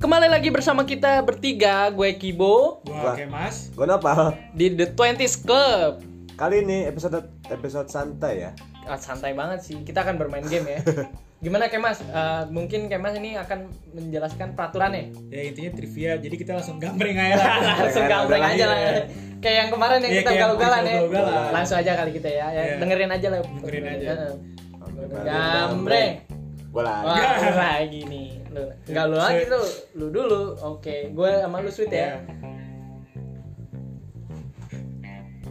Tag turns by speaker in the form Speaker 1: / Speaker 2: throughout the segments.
Speaker 1: kembali lagi bersama kita bertiga, gue Kibo
Speaker 2: Gua oke mas
Speaker 3: Gue Nopal.
Speaker 1: di The 20s Club.
Speaker 3: Kali ini episode episode santai ya.
Speaker 1: Ah, santai banget sih, kita akan bermain game ya. Gimana Kemas? Eh, mungkin Kemas ini akan menjelaskan peraturannya.
Speaker 2: ya intinya trivia jadi kita langsung gambreng aja lah
Speaker 1: Langsung gambreng aja lah. ya. Kayak yang kemarin yang
Speaker 2: Iya,
Speaker 1: kita
Speaker 2: kayak
Speaker 1: galau-galan ya.
Speaker 2: yang galau-galan.
Speaker 1: Langsung aja kali kita ya. ya
Speaker 2: Iya.
Speaker 1: Dengerin aja lah.
Speaker 2: Dengerin aja.
Speaker 1: Heeh. Gambreng.
Speaker 3: Gue
Speaker 1: Wah,
Speaker 3: lagi.
Speaker 2: Iya.
Speaker 1: lu lagi nih. Lu. Enggak lu lagi tuh. Lu dulu. Oke, gue sama lu sweet ya.
Speaker 2: ya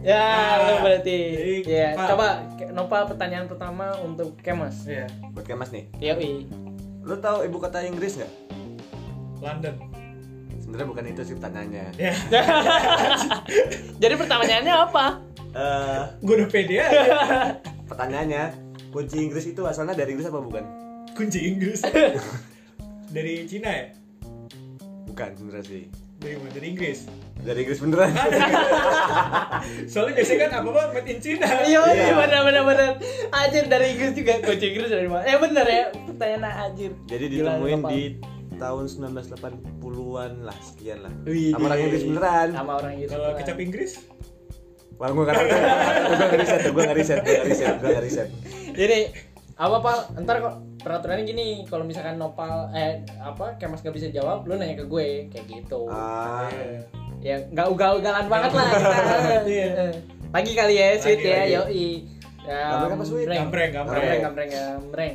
Speaker 1: Ya, lu
Speaker 2: Ah,
Speaker 1: berarti.
Speaker 2: jadi,
Speaker 1: Ya,
Speaker 2: Pak.
Speaker 1: coba Ke- Nopal pertanyaan pertama untuk Kemas.
Speaker 2: ya
Speaker 3: Buat kayak mas nih.
Speaker 1: Yoi.
Speaker 3: Lu tahu ibu kota Inggris nggak?
Speaker 2: London
Speaker 3: Sebenarnya bukan itu sih pertanyaannya.
Speaker 2: ya
Speaker 1: Jadi pertanyaannya apa?
Speaker 3: Eh,
Speaker 2: gue udah pede aja
Speaker 3: pertanyaannya kunci Inggris itu asalnya dari Inggris apa bukan?
Speaker 2: kunci Inggris dari Cina ya
Speaker 3: Bukan sebenarnya sih.
Speaker 2: dari mana dari Inggris
Speaker 3: Dari Inggris beneran.
Speaker 2: soalnya biasanya kan apa apa made in Cina
Speaker 1: Iya,
Speaker 3: Iya.
Speaker 1: iya benar benar benar. Anjir dari Inggris juga coach Inggris dari mana? Eh benar ya, pertanyaan anjir.
Speaker 3: Jadi
Speaker 1: Gila,
Speaker 3: ditemuin
Speaker 1: Nopal.
Speaker 3: di tahun 1980-an lah sekian lah.
Speaker 1: Wih,
Speaker 3: Sama orang
Speaker 1: wih.
Speaker 3: Inggris beneran.
Speaker 1: sama orang Inggris.
Speaker 2: kalau
Speaker 1: beneran.
Speaker 2: kecap Inggris
Speaker 3: Wah, gue nggak tahu. Gue nggak riset, gue nggak riset, gue nggak riset, gue nggak riset.
Speaker 1: Jadi apa pal? Ntar kok peraturannya gini, kalau misalkan Nopal eh apa Kemas gak bisa jawab, lu nanya ke gue kayak gitu.
Speaker 3: Ah,
Speaker 2: Ya.
Speaker 1: Ya nggak ugal-ugalan banget lah kita. Eh,
Speaker 2: Iya.
Speaker 1: Pagi kali ya, sweet
Speaker 2: Pagi,
Speaker 1: ya,
Speaker 2: pagi.
Speaker 1: yoi. Ya,
Speaker 3: Gambreng apa sweet?
Speaker 2: Gambreng, gambreng.
Speaker 1: Gambreng, gambreng, gambreng.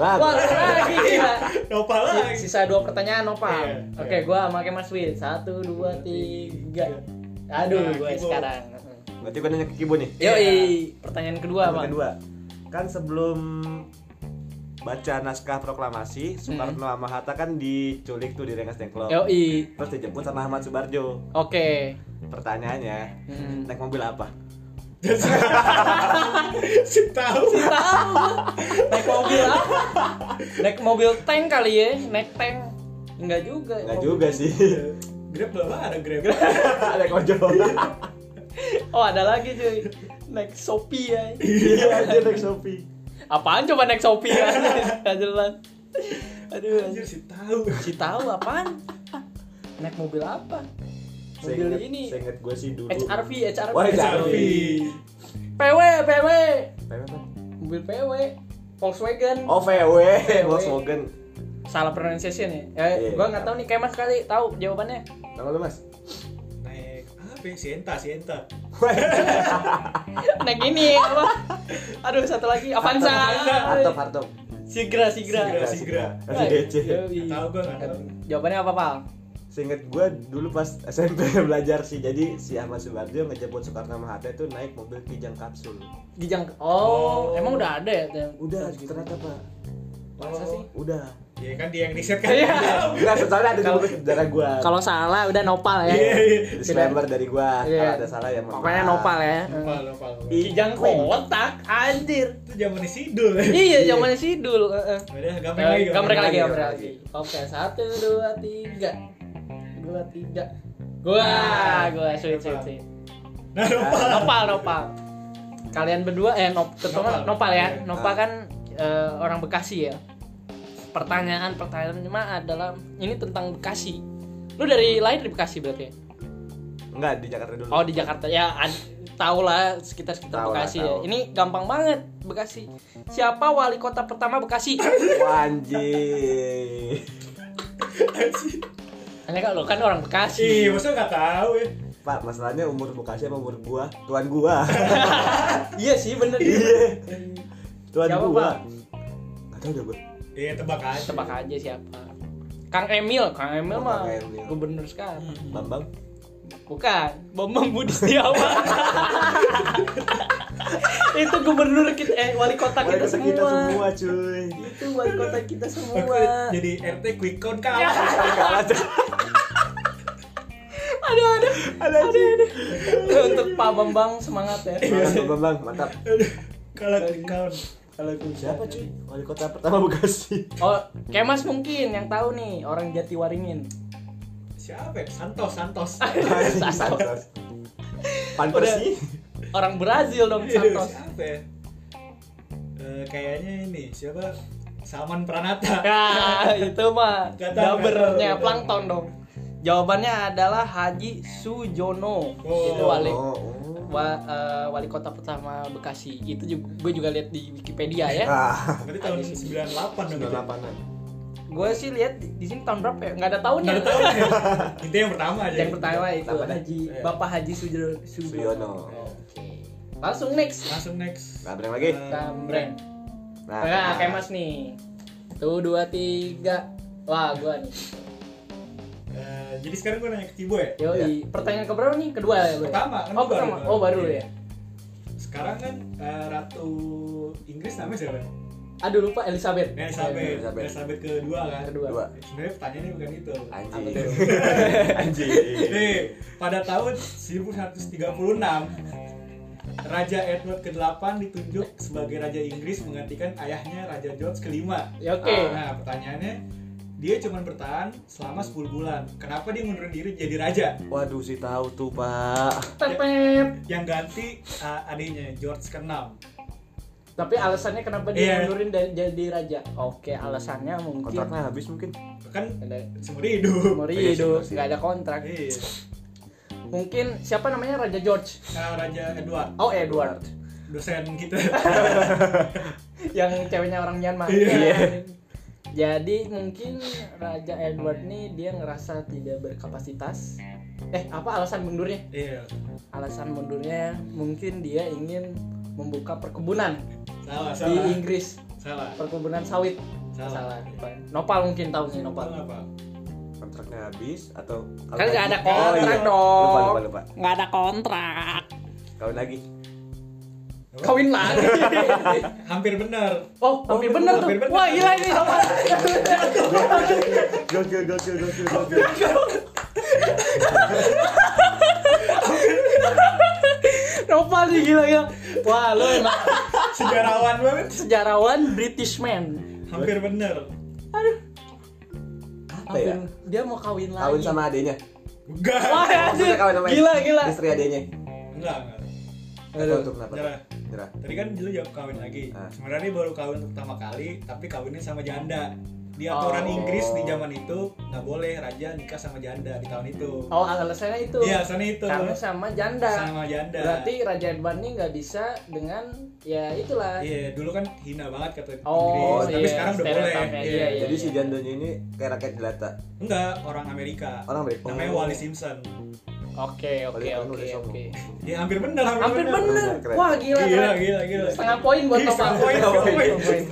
Speaker 3: Wah,
Speaker 1: Wah, lagi gila.
Speaker 2: apa
Speaker 1: Si-
Speaker 2: lagi
Speaker 1: sisa dua pertanyaan Nopal.
Speaker 2: Iya,
Speaker 1: Oke,
Speaker 2: iya.
Speaker 1: gua sama Kemal Sweet. Satu, dua, tiga. Aduh,
Speaker 2: Nah,
Speaker 1: gua
Speaker 2: Kibo.
Speaker 1: sekarang.
Speaker 3: berarti gue nanya ke Kibo nih.
Speaker 1: Yoi, pertanyaan kedua,
Speaker 3: Yang
Speaker 1: Bang.
Speaker 3: kedua kan sebelum baca naskah proklamasi Soekarno sama Hatta kan diculik tuh di Rengas Dengklok
Speaker 1: Yoi.
Speaker 3: terus dijemput sama Ahmad Subarjo
Speaker 1: Oke.
Speaker 3: pertanyaannya
Speaker 1: Hmm.
Speaker 3: naik mobil apa
Speaker 2: si tahu
Speaker 1: Tahu gua. naik mobil apa? Naik mobil tank kali ya, naik tank. Enggak juga.
Speaker 3: nggak
Speaker 1: mobil.
Speaker 3: juga sih
Speaker 1: Iya.
Speaker 2: Grab belum ada Grab
Speaker 3: naik ojol
Speaker 1: Oh, ada lagi cuy. Naik Shopee ya.
Speaker 3: iya dia naik Shopee
Speaker 1: Apaan coba naik Shopee ya? Nggak jelas. Aduh, anjir.
Speaker 2: anjir si tahu
Speaker 1: si tahu apaan? Naik mobil apa? Mobil
Speaker 3: Seinget-
Speaker 1: ini.
Speaker 3: seinget gue sih dulu
Speaker 1: HRV, HRV.
Speaker 3: Wah,
Speaker 2: HRV.
Speaker 1: PW, PW.
Speaker 3: Apa, apa?
Speaker 1: Mobil PW. Volkswagen.
Speaker 3: oh VW Volkswagen
Speaker 1: Salah pronunciation ya. Eh,
Speaker 3: Iya.
Speaker 1: gua nggak tahu nih kayak Mas kali tahu jawabannya.
Speaker 3: nama lu mas
Speaker 2: naik apa ya? Sienta Sienta
Speaker 1: Naik ini apa? Aduh, satu lagi Avanza.
Speaker 3: Hartop Hartop
Speaker 1: Sigra, Sigra.
Speaker 2: Sigra. Sigra.
Speaker 3: SIGC
Speaker 1: Yoi.
Speaker 2: Nggak tahu gua, nggak tahu.
Speaker 1: Jawabannya apa, Pal?
Speaker 3: Seinget gue dulu pas SMP belajar sih Jadi si Ahmad Subarjo ngejemput Soekarno sama Hatta itu naik mobil Kijang Kapsul
Speaker 1: Gijang. Oh,
Speaker 2: Oh.
Speaker 1: emang udah ada ya?
Speaker 3: Udah ternyata pak
Speaker 1: Masa sih?
Speaker 3: gitu. Udah
Speaker 2: ya kan dia yang riset kan
Speaker 1: Iya.
Speaker 3: Enggak soalnya ada di buku sejarah gua
Speaker 1: Kalau salah udah nopal ya.
Speaker 2: Iya, iya.
Speaker 3: Disclaimer dari gua
Speaker 1: Iya.
Speaker 3: Kalau ada salah ya mohon
Speaker 1: Pokoknya
Speaker 3: maaf.
Speaker 1: nopal ya.
Speaker 2: lupa lupa lupa.
Speaker 1: Kijang kotak, anjir.
Speaker 2: itu zaman sidul ya.
Speaker 1: Iya, zamannya sidul. heeh.
Speaker 2: udah gambar lagi
Speaker 1: Eh, Gambreng lagi,
Speaker 3: gambreng
Speaker 1: gambreng lagi.
Speaker 3: lagi.
Speaker 1: Oke, satu, dua, tiga, dua, tiga. Gua, gua sweet, sweet, sweet.
Speaker 2: nah
Speaker 1: Iya.
Speaker 2: lupa
Speaker 1: Nopal, nopal. Kalian berdua, eh, nop, terutama
Speaker 2: Nopal.
Speaker 1: nopal ya.
Speaker 2: Iya.
Speaker 1: Nopal kan eh, orang Bekasi ya. Pertanyaan pertanyaan mah adalah ini tentang Bekasi. Lu dari lahir di Bekasi berarti ya?
Speaker 3: Enggak di Jakarta dulu
Speaker 1: Oh di Jakarta ya ad- tau lah sekitar sekitar
Speaker 3: Tahu lah,
Speaker 1: Bekasi
Speaker 3: tahu.
Speaker 1: ya. Ini gampang banget Bekasi. Siapa wali kota pertama Bekasi?
Speaker 3: Wah, anjing
Speaker 1: Hanya kalau kan orang Bekasi.
Speaker 2: Ih, masa nggak tahu ya?
Speaker 3: Pak masalahnya umur Bekasi sama umur gua Tuan gua
Speaker 1: iya sih bener.
Speaker 3: Iya Tuan
Speaker 1: Siapa, Pak?
Speaker 3: gua Gak tau udah gua
Speaker 2: Iya, tebak aja.
Speaker 1: Tebak aja siapa. Kang Emil, Kang Emil
Speaker 3: Oh,
Speaker 1: mah
Speaker 3: Kang Emil.
Speaker 1: gubernur sekarang.
Speaker 3: Bambang
Speaker 1: Bukan, Bambang Budi Setiawan. Itu gubernur kita, eh wali kota
Speaker 3: Wali
Speaker 1: kita,
Speaker 3: kota
Speaker 1: semua.
Speaker 3: kita semua cuy
Speaker 1: Itu wali kota kita
Speaker 2: Aku
Speaker 1: semua.
Speaker 2: jadi RT quick count kau.
Speaker 3: Kalah cuy
Speaker 1: Aduh, aduh, aduh, aduh, aduh. Untuk Pak Bambang semangat ya.
Speaker 2: Iya.
Speaker 3: Bambang, Bambang, mantap
Speaker 2: Kalau quick count.
Speaker 1: Kalau
Speaker 3: Siapa cuy? Wali kota pertama Bekasi
Speaker 1: Oh, Kemas mungkin yang tahu nih orang Jatiwaringin.
Speaker 2: Siapa? ya? Santos, Santos.
Speaker 3: Santos Pan Persi
Speaker 1: Orang Brazil dong
Speaker 2: Iya,
Speaker 1: Santos.
Speaker 2: Siapa? ya? Eh, kayaknya ini siapa? Salman Pranata.
Speaker 1: Ya, itu mah
Speaker 2: Gak tahu,
Speaker 1: dabernya
Speaker 2: gak tahu.
Speaker 1: plankton dong. Jawabannya adalah Haji Sujono,
Speaker 2: Oh.
Speaker 1: itu wali
Speaker 3: Oh, oh.
Speaker 1: wa- eh, wali kota pertama Bekasi. Itu juga gue juga lihat di Wikipedia ya.
Speaker 3: Ah,
Speaker 2: Berarti tahun
Speaker 1: Ada sih.
Speaker 2: 98 dong. gitu.
Speaker 3: 98-an.
Speaker 1: Gue sih lihat di di sini tahun berapa ya? Nggak ada tahunnya.
Speaker 2: Nggak ada tahun ya. Itu yang pertama aja.
Speaker 1: Yang pertama itu
Speaker 3: Pertama.
Speaker 1: Haji
Speaker 2: Iya.
Speaker 1: Bapak Haji Sujo- Sujono.
Speaker 3: Suyono.
Speaker 2: Oh.
Speaker 1: Oke. Langsung next.
Speaker 2: Langsung next.
Speaker 3: Gambreng lagi.
Speaker 2: Eh,
Speaker 1: Gambreng.
Speaker 3: Nah,
Speaker 1: Nah, kayak Mas nih. Tuh dua tiga. Wah, gua nih.
Speaker 2: eh, jadi sekarang gue nanya ke Cibo ya.
Speaker 1: Yo, pertanyaan keberapa nih? Kedua ya, Bro?
Speaker 2: Pertama, kan
Speaker 1: Oh,
Speaker 2: gua
Speaker 1: pertama.
Speaker 2: baru.
Speaker 1: Oh, baru
Speaker 2: Iya.
Speaker 1: ya.
Speaker 2: Sekarang kan eh, Ratu Inggris namanya siapa?
Speaker 1: Aduh, lupa Iya, Elizabeth.
Speaker 2: Nah, Elizabeth.
Speaker 3: Elizabeth.
Speaker 2: Elizabeth kedua kan.
Speaker 1: Kedua.
Speaker 3: Dua.
Speaker 2: Sebenarnya pertanyaannya bukan itu.
Speaker 3: Anjing.
Speaker 1: Apa tuh?
Speaker 3: Anjing.
Speaker 2: Nih, pada tahun 1136 Raja Edward ke-8 ditunjuk sebagai Raja Inggris menggantikan ayahnya Raja George kelima.
Speaker 1: Ya, Oke.
Speaker 2: Nah, pertanyaannya dia cuma bertahan selama 10 bulan. Kenapa dia mundurin diri jadi raja?
Speaker 3: Waduh sih tahu tuh, Pak.
Speaker 1: Tepet.
Speaker 2: Yang ganti uh, adiknya George ke-6.
Speaker 1: Tapi alasannya kenapa
Speaker 2: Iya.
Speaker 1: dia mundurin dan jadi raja? Oke, alasannya mungkin
Speaker 3: Kontraknya habis mungkin.
Speaker 2: Kan
Speaker 1: ada
Speaker 2: seumur hidup.
Speaker 1: umur
Speaker 3: Iya sih,
Speaker 1: hidup,
Speaker 3: bener sih.
Speaker 1: nggak ada kontrak.
Speaker 2: Iya.
Speaker 1: Mungkin siapa namanya Raja George?
Speaker 2: Nah, Raja Edward,
Speaker 1: Oh, Edward.
Speaker 2: dosen kita.
Speaker 1: Yang ceweknya orang Myanmar.
Speaker 2: Iya.
Speaker 1: Jadi mungkin Raja Edward nih dia ngerasa tidak berkapasitas. Eh, apa alasan mundurnya?
Speaker 2: Iya.
Speaker 1: Alasan mundurnya mungkin dia ingin membuka perkebunan
Speaker 2: Salah,
Speaker 1: di
Speaker 2: salah.
Speaker 1: Inggris,
Speaker 2: Salah.
Speaker 1: perkebunan sawit. Salah.
Speaker 2: Salah.
Speaker 1: Nopal mungkin tahunnya Nopal.
Speaker 2: Salah apa?
Speaker 3: Kontraknya habis atau
Speaker 1: Kan nggak ada
Speaker 3: Oh, iya.
Speaker 1: kontrak
Speaker 3: Lupa
Speaker 1: dong.
Speaker 3: lupa lupa.
Speaker 1: Nggak ada kontrak.
Speaker 3: Kawin lagi. Oh.
Speaker 1: Kawin lagi.
Speaker 2: Hampir benar.
Speaker 1: oh, hampir
Speaker 2: Oh,
Speaker 1: bener tuh.
Speaker 2: hampir bener.
Speaker 1: Wah, gila ini sama.
Speaker 3: Gokil gokil gokil gokil.
Speaker 1: Nopal sih gila gila. Wah, lu emang
Speaker 2: Sejarawan banget.
Speaker 1: sejarawan British man.
Speaker 2: Hampir benar.
Speaker 3: Apa ya?
Speaker 1: Hampir- Dia mau kawin lagi.
Speaker 3: Kawin sama adenya.
Speaker 1: Wah,
Speaker 2: Enggak.
Speaker 1: anjir.
Speaker 3: Maksudnya kawin sama
Speaker 1: Gila gila.
Speaker 3: istri adenya.
Speaker 2: Enggak, enggak.
Speaker 3: Atau untuk kenapa?
Speaker 2: Jarah.
Speaker 3: Nyerah.
Speaker 2: Tadi kan dulu jawab kawin lagi.
Speaker 3: Ah.
Speaker 2: Sebenarnya baru kawin pertama kali, tapi kawinnya sama janda. Di aturan
Speaker 1: Oh.
Speaker 2: Inggris di zaman itu nggak boleh raja nikah sama janda di tahun itu.
Speaker 1: Oh, alasannya itu.
Speaker 2: Iya, sana itu.
Speaker 1: Karena sama janda.
Speaker 2: Sama janda.
Speaker 1: Berarti Raja Edward nih nggak bisa dengan ya itulah.
Speaker 2: Iya, dulu kan hina banget kata
Speaker 1: Oh,
Speaker 2: Inggris, tapi
Speaker 1: iya,
Speaker 2: sekarang udah boleh.
Speaker 1: stereotipnya,
Speaker 2: Iya.
Speaker 1: iya.
Speaker 3: Jadi si jandanya ini kayak rakyat jelata.
Speaker 2: Enggak, orang Amerika.
Speaker 3: Orang baik.
Speaker 2: Namanya Wally Simpson.
Speaker 1: Oke, oke,
Speaker 3: Paling- paling
Speaker 1: oke,
Speaker 3: udah sombong.
Speaker 1: oke.
Speaker 2: Ya hampir benar,
Speaker 1: Hampir bener.
Speaker 3: Keren.
Speaker 1: Wah, gila.
Speaker 2: Gila,
Speaker 1: keren.
Speaker 2: gila, gila.
Speaker 1: Setengah poin buat
Speaker 2: Iya,
Speaker 1: Nopal.
Speaker 2: setengah poin,
Speaker 1: Setengah
Speaker 2: setengah
Speaker 1: poin.
Speaker 2: poin.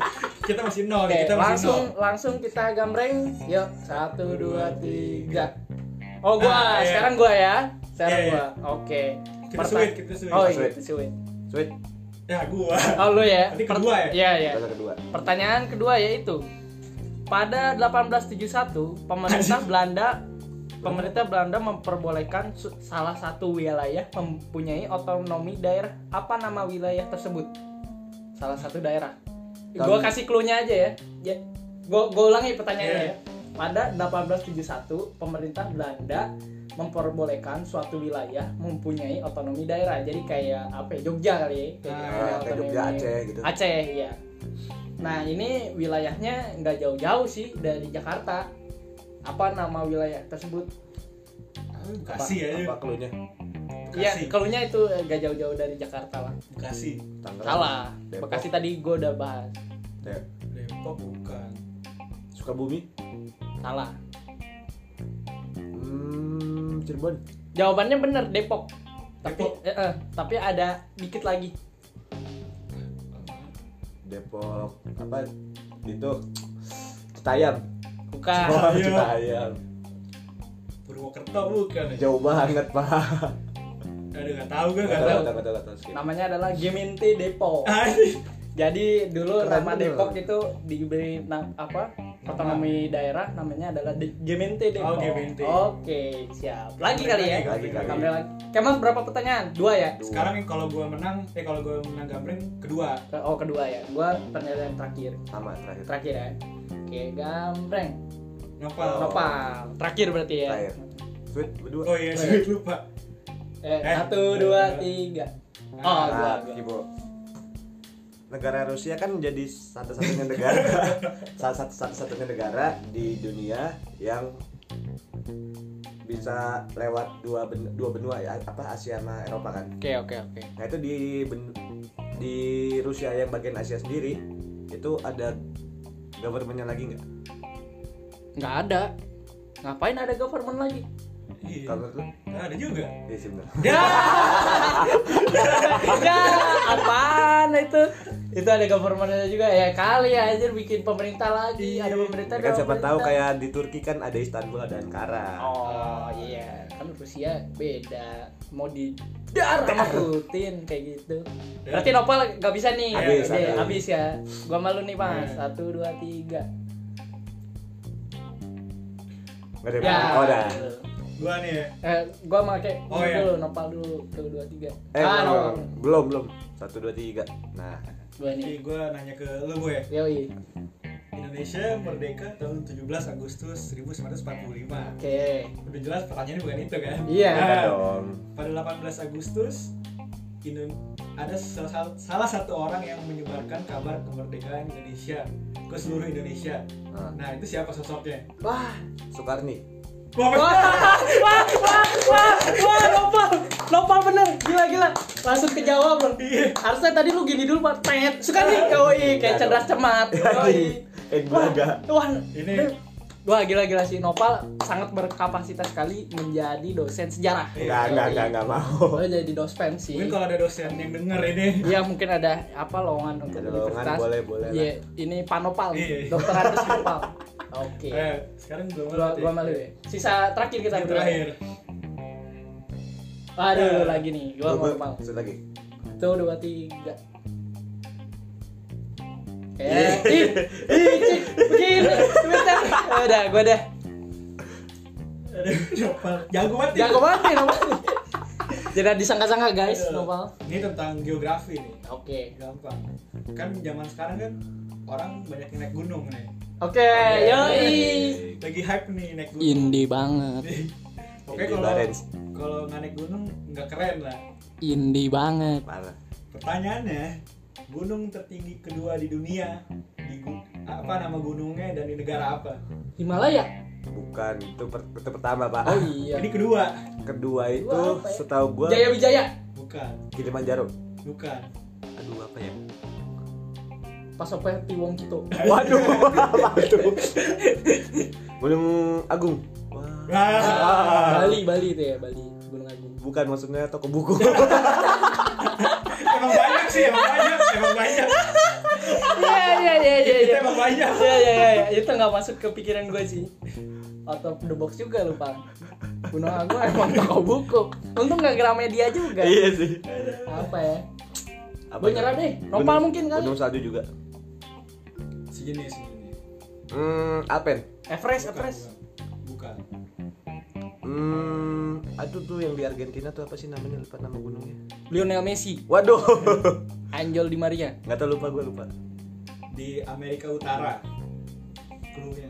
Speaker 2: Kita masih nol,
Speaker 1: Oke,
Speaker 2: kita masih
Speaker 1: langsung
Speaker 2: nol.
Speaker 1: langsung kita gambreng. Yuk, satu, dua, tiga. Oh,
Speaker 2: Ah,
Speaker 1: gua.
Speaker 2: iya.
Speaker 1: Sekarang gua ya. Sekarang
Speaker 2: Iya, iya.
Speaker 1: gua. Oke.
Speaker 2: Kita
Speaker 1: Perta-
Speaker 2: sweet, kita sweet.
Speaker 1: Oh, iya,
Speaker 3: Sweet.
Speaker 1: kita sweet.
Speaker 3: Sweet.
Speaker 2: Ya, gua.
Speaker 1: Oh, lu ya.
Speaker 2: Nanti
Speaker 1: Per-
Speaker 2: kedua ya?
Speaker 1: Iya, iya.
Speaker 3: Kata kedua.
Speaker 1: Pertanyaan kedua yaitu pada 1871 pemerintah Belanda pemerintah Belanda memperbolehkan su- salah satu wilayah mempunyai otonomi daerah apa nama wilayah tersebut salah satu daerah gue
Speaker 3: Tahun-
Speaker 1: kasih clue-nya aja ya, ya gue ulangi pertanyaannya
Speaker 2: Iya.
Speaker 1: ya pada 1871 pemerintah Belanda memperbolehkan suatu wilayah mempunyai otonomi daerah jadi kayak apa ya Jogja kali ya Kayak
Speaker 2: Ah,
Speaker 1: gitu,
Speaker 3: Nah, kayak
Speaker 1: otonomi.
Speaker 3: Jogja Aceh gitu.
Speaker 1: Aceh ya. Nah ini wilayahnya nggak jauh-jauh sih dari Jakarta. Apa nama wilayah tersebut?
Speaker 2: Bekasi ya,
Speaker 3: Apa keluarnya?
Speaker 1: Iya,
Speaker 2: Bekasi.
Speaker 1: keluarnya itu nggak jauh-jauh dari Jakarta lah.
Speaker 2: Bekasi.
Speaker 3: Tangerang.
Speaker 1: Salah.
Speaker 3: Depok.
Speaker 1: Bekasi tadi gue udah bahas.
Speaker 3: Dep.
Speaker 2: Depok bukan.
Speaker 3: Sukabumi.
Speaker 1: Salah.
Speaker 3: Hmm, Cirebon.
Speaker 1: Jawabannya bener Depok. Tapi
Speaker 2: Depok.
Speaker 1: eh, eh, tapi ada dikit lagi.
Speaker 3: Depok. Apa? Itu Citayam.
Speaker 1: Bukan.
Speaker 3: Wah,
Speaker 2: Citayam.
Speaker 3: Citayam.
Speaker 2: Purwokerto bukan. ya?
Speaker 3: Jauh banget, Pak.
Speaker 2: Aduh, nggak tahu gue nggak
Speaker 3: Kata
Speaker 2: tahu.
Speaker 3: kata kata kata skip.
Speaker 1: Namanya adalah Geminti Depok.
Speaker 2: Anjing.
Speaker 1: Jadi dulu
Speaker 3: Keren
Speaker 1: nama
Speaker 3: bener.
Speaker 1: Depok itu diberi na- apa? Otonomi daerah namanya adalah De- Gemente Depok.
Speaker 2: Ah. Oh, Gemente.
Speaker 1: Oke, siap. Lagi
Speaker 2: Lagi,
Speaker 1: kali ya.
Speaker 3: lagi, lagi.
Speaker 1: Tambah lagi. Kemas berapa pertanyaan? Dua ya?
Speaker 2: Sekarang yang kalau gue menang, eh kalau gue menang gambreng kedua.
Speaker 1: Ke- Oh, kedua ya. Gua pertanyaan terakhir.
Speaker 3: sama terakhir.
Speaker 1: Terakhir ya. Oke, gambreng.
Speaker 2: Nopal.
Speaker 1: Nopal. Terakhir berarti ya.
Speaker 3: Oh. Terakhir. Sweet berdua.
Speaker 2: Oh iya, sih lupa.
Speaker 1: Eh,
Speaker 2: Eh.
Speaker 1: satu, dua, tiga. Oh,
Speaker 2: Ah,
Speaker 1: gua.
Speaker 3: Nah,
Speaker 1: gua.
Speaker 3: Kibo. negara Rusia kan menjadi satu-satunya negara salah satu satunya negara di dunia yang bisa lewat dua ben- dua benua ya, apa Asia sama Eropa kan
Speaker 1: Oke oke oke.
Speaker 3: nah itu di ben- di Rusia yang bagian Asia sendiri itu ada governmentnya lagi nggak
Speaker 1: Nggak ada. Ngapain ada government lagi?
Speaker 2: Iya.
Speaker 3: kalau itu
Speaker 2: Nah, ada juga.
Speaker 3: ya sih bener.
Speaker 2: Ya.
Speaker 3: Iya.
Speaker 1: ya apaan itu? Itu ada governmentnya juga ya kali ya anjir bikin pemerintah lagi. Ada pemerintah.
Speaker 3: Ya
Speaker 1: ada
Speaker 3: kan siapa tahu
Speaker 1: pemerintah.
Speaker 3: kayak di Turki kan ada Istanbul ada Ankara
Speaker 1: Oh iya, kan Rusia beda. Mau di darah Putin kayak gitu. Berarti Nopal gak bisa nih.
Speaker 3: Habis,
Speaker 1: Iya,
Speaker 3: habis. Iya.
Speaker 1: habis ya. Gua malu nih, Bang. Satu, dua, tiga.
Speaker 3: nggak ada
Speaker 1: Ya.
Speaker 3: yang- oh dah
Speaker 2: Gua nih ya.
Speaker 1: Eh, gua pakai
Speaker 2: Oh,
Speaker 1: ini
Speaker 2: iya.
Speaker 1: dulu, Nopal dulu. Satu, dua, tiga.
Speaker 3: eh
Speaker 1: ah,
Speaker 3: belum,
Speaker 1: Nopal.
Speaker 3: belum belum satu dua tiga nah
Speaker 1: Gua nih.
Speaker 2: Jadi gua nanya ke lu ya. boy.
Speaker 1: Yoi.
Speaker 2: Indonesia merdeka tahun 17 Agustus 1945.
Speaker 1: Oke.
Speaker 2: Udah jelas pertanyaannya bukan itu kan?
Speaker 1: Iya.
Speaker 3: ada
Speaker 2: Nah,
Speaker 3: dong
Speaker 2: pada 18 Agustus Indo- ada salah, salah satu orang yang menyebarkan kabar kemerdekaan Indonesia ke seluruh Indonesia.
Speaker 1: Ah.
Speaker 3: nah,
Speaker 2: Nah, itu siapa sosoknya?
Speaker 1: Wah.
Speaker 3: Soekarni
Speaker 1: Wah,
Speaker 2: Wah,
Speaker 1: wah, wah, wah, wah, Nopal, Nopal bener, gila gila, langsung kejawab loh.
Speaker 2: Iya.
Speaker 1: Harusnya tadi lu gini dulu, Pak. Tet, suka nih, yoi, kayak cenderas cemat. Yoi.
Speaker 3: eh belaga
Speaker 1: Wah,
Speaker 2: Ini-
Speaker 1: Wah gila-gila sih Nopal sangat berkapasitas sekali menjadi dosen sejarah.
Speaker 3: nggak nggak nggak nggak
Speaker 1: Oh
Speaker 3: mau
Speaker 1: jadi dosen sih.
Speaker 2: mungkin kalau ada dosen yang denger ini
Speaker 1: Iya mungkin ada apa lowongan untuk
Speaker 3: Ada lowongan,
Speaker 1: universitas.
Speaker 3: boleh, boleh
Speaker 1: Iya, ini Panopal,
Speaker 2: Iya, iya.
Speaker 1: dokter Andres Nopal. Oke.
Speaker 2: eh, sekarang belum
Speaker 1: Iya. Gua
Speaker 2: ada.
Speaker 1: gua malu ya. Sisa terakhir kita
Speaker 2: Yang
Speaker 1: berdua.
Speaker 2: terakhir.
Speaker 1: Aduh lagi nih, gua mau Nopal.
Speaker 3: Satu lagi
Speaker 1: Tuh dua tiga. Eh, ih, ih, cik, begini, bentar. Eh, Udah, gua dah.
Speaker 2: Aduh, Nopal. Jago banget. ya.
Speaker 1: Jago banget nih Nopal. Jangan disangka-sangka guys, Nopal.
Speaker 2: Ini tentang geografi nih.
Speaker 1: Oke.
Speaker 2: Gampang. Kan zaman sekarang kan orang banyak yang naik gunung nih.
Speaker 1: Oke, Eh, yoi.
Speaker 2: Lagi hype nih naik gunung.
Speaker 1: Indie banget,
Speaker 2: Oke
Speaker 3: Di
Speaker 2: kalau
Speaker 3: Barents.
Speaker 2: kalau nggak naik gunung nggak keren lah.
Speaker 1: indie banget.
Speaker 3: parah
Speaker 2: Pertanyaannya, gunung tertinggi kedua di dunia di gu- apa nama gunungnya dan di negara apa?
Speaker 1: Himalaya.
Speaker 3: bukan itu, per- itu pertama pak
Speaker 1: Oh iya.
Speaker 2: Ini kedua,
Speaker 3: kedua itu
Speaker 1: Kedua apa ya?
Speaker 3: setahu gua
Speaker 1: Jaya Wijaya.
Speaker 2: bukan,
Speaker 3: Kilimanjaro
Speaker 2: bukan.
Speaker 3: aduh apa ya
Speaker 1: Pasopeti Wong Kito.
Speaker 3: waduh apa tuh Gunung Agung Wah.
Speaker 2: Wah,
Speaker 1: Bali, Bali itu ya, Bali. Gunung Agung.
Speaker 3: bukan maksudnya toko buku
Speaker 1: Iya
Speaker 2: emang banyak sih, emang banyak, emang banyak.
Speaker 1: Iya, iya, iya, iya.
Speaker 2: Kita
Speaker 1: iya.
Speaker 2: emang banyak.
Speaker 1: Iya, iya, iya, iya. Itu nggak masuk ke pikiran gue sih. Out of the box juga lupa. Gunung Agung emang toko buku. Untung nggak Gramedia juga.
Speaker 3: iya sih
Speaker 1: Apa ya?
Speaker 3: apa
Speaker 1: Gua
Speaker 3: ya?
Speaker 1: nyerah deh.
Speaker 3: Gunung-
Speaker 1: Nopal mungkin kan? kali.
Speaker 3: gunung salju juga
Speaker 2: Segini, segini.
Speaker 3: hmm Alpen
Speaker 1: Everest, Everest.
Speaker 2: Bukan.
Speaker 3: Hmm, aduh tuh yang di Argentina tuh apa sih namanya lupa nama gunungnya?
Speaker 1: Lionel Messi,
Speaker 3: Waduh,
Speaker 1: Angel Di Maria.
Speaker 3: nggak tahu lupa gue lupa.
Speaker 2: Di Amerika Utara. Krunya.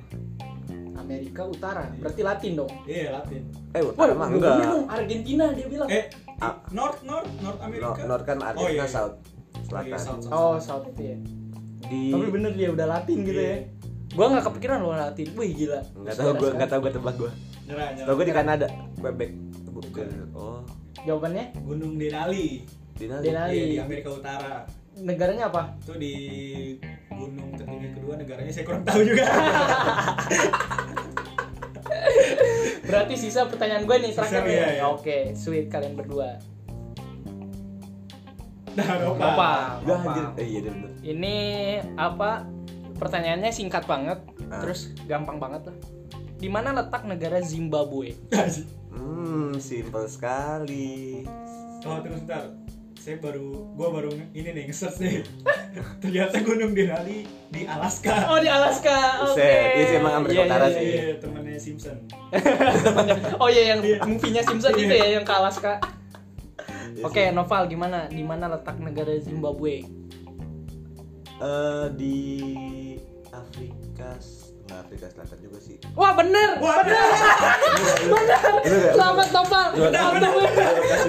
Speaker 1: Amerika Utara, berarti Latin dong.
Speaker 2: Iya, Latin.
Speaker 3: Eh,
Speaker 1: Wah,
Speaker 3: utara mah
Speaker 1: gua
Speaker 3: enggak.
Speaker 1: bingung, Argentina dia bilang.
Speaker 2: Eh,
Speaker 3: Ah.
Speaker 2: North, North, North
Speaker 3: Nor,
Speaker 2: Amerika.
Speaker 3: nor kan Argentina
Speaker 2: Oh, iya, iya.
Speaker 3: South,
Speaker 2: Oh, iya,
Speaker 3: selatan.
Speaker 2: South, South,
Speaker 1: Oh,
Speaker 2: South.
Speaker 1: South itu ya.
Speaker 3: Di
Speaker 1: Tapi bener dia udah Latin gitu ya.
Speaker 2: Iya.
Speaker 1: Gua nggak kepikiran loh Latin. Wih gila.
Speaker 3: nggak tahu gue nggak tahu gue tebak gue.
Speaker 2: Nyerah,
Speaker 3: Tahu
Speaker 2: nyerah.
Speaker 3: gue di Kanada, Quebec. Bukan. Oh,
Speaker 1: Jawabannya
Speaker 2: Gunung Denali.
Speaker 3: di Nali.
Speaker 1: Denali.
Speaker 2: Iya, di Amerika Utara.
Speaker 1: negaranya apa?
Speaker 2: itu di gunung tertinggi kedua negaranya saya kurang tahu juga
Speaker 1: Berarti sisa pertanyaan gue nih
Speaker 2: Sisa,
Speaker 1: terakhir nih.
Speaker 2: iya, iya.
Speaker 1: Oke, sweet kalian berdua.
Speaker 2: nah Nopal.
Speaker 1: Apa?
Speaker 3: Gua anjir. Eh, iya dia bener.
Speaker 1: Ini apa? Pertanyaannya singkat banget,
Speaker 3: Ah.
Speaker 1: terus gampang banget lah. Di mana letak negara Zimbabwe?
Speaker 2: Nah,
Speaker 3: Hmm, simple sekali.
Speaker 2: oh terus bentar saya baru gua baru nge- ini nih nge-search nih ternyata gunung Denali di Alaska
Speaker 1: Oh di Alaska. Oke.
Speaker 3: Buset, iya sih, emang Amerika
Speaker 1: Iya,
Speaker 3: Utara
Speaker 1: iya,
Speaker 3: sih.
Speaker 1: iya.
Speaker 2: iya temennya Simpson
Speaker 1: Oh iya yang movie-nya Simpson
Speaker 2: Iya.
Speaker 1: itu ya yang ke Alaska.
Speaker 3: Iya
Speaker 1: Oke, Noval gimana? Di mana letak negara Zimbabwe?
Speaker 3: Eh, di Afrika, nggak Afrika Selatan juga sih.
Speaker 1: Wah bener, bener,
Speaker 3: Bener
Speaker 1: bener.
Speaker 3: nggak?
Speaker 1: Selamat Nopal.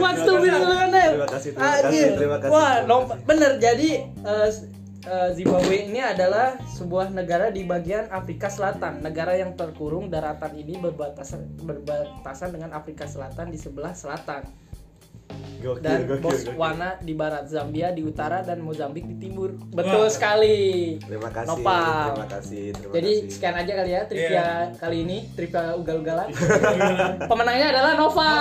Speaker 1: Wants to be millionaire.
Speaker 3: Terima kasih, terima kasih,
Speaker 1: Anjir.
Speaker 3: terima kasih,
Speaker 1: Wah,
Speaker 3: terima
Speaker 1: Nopal,
Speaker 3: kasih.
Speaker 1: bener. Jadi eh, eh, Zimbabwe ini adalah sebuah negara di bagian Afrika Selatan. Negara yang terkurung daratan ini berbatasan berbatasan dengan Afrika Selatan di sebelah selatan
Speaker 3: Gokil,
Speaker 1: dan
Speaker 3: gokil, gokil.
Speaker 1: Botswana di barat, Zambia di utara dan Mozambik di timur. Betul
Speaker 2: Wah.
Speaker 1: sekali.
Speaker 3: Terima kasih,
Speaker 1: Nopal.
Speaker 3: terima kasih, terima
Speaker 1: Jadi
Speaker 3: kasih.
Speaker 1: sekian aja kali ya trivia
Speaker 2: Iya.
Speaker 1: kali ini, trivia ugal-ugalan. Pemenangnya adalah Nova.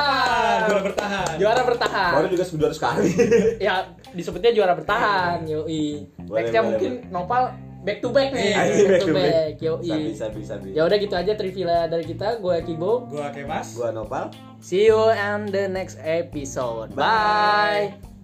Speaker 2: Juara Ah, bertahan.
Speaker 1: Juara bertahan.
Speaker 3: Baru juga sudah sekali.
Speaker 1: Ya, disebutnya juara bertahan, yoi.
Speaker 3: Hmm. Boleh,
Speaker 1: Nextnya
Speaker 3: boleh,
Speaker 1: mungkin Nopal back to back nih.
Speaker 2: Iya,
Speaker 3: Anjing, back to back.
Speaker 1: yoi.
Speaker 3: Sabi, sabi, sabi.
Speaker 1: Ya udah gitu aja trivia dari kita. Gue Kibo.
Speaker 2: Gua Kemas.
Speaker 3: Gua Nopal.
Speaker 1: See you on the next episode. Bye.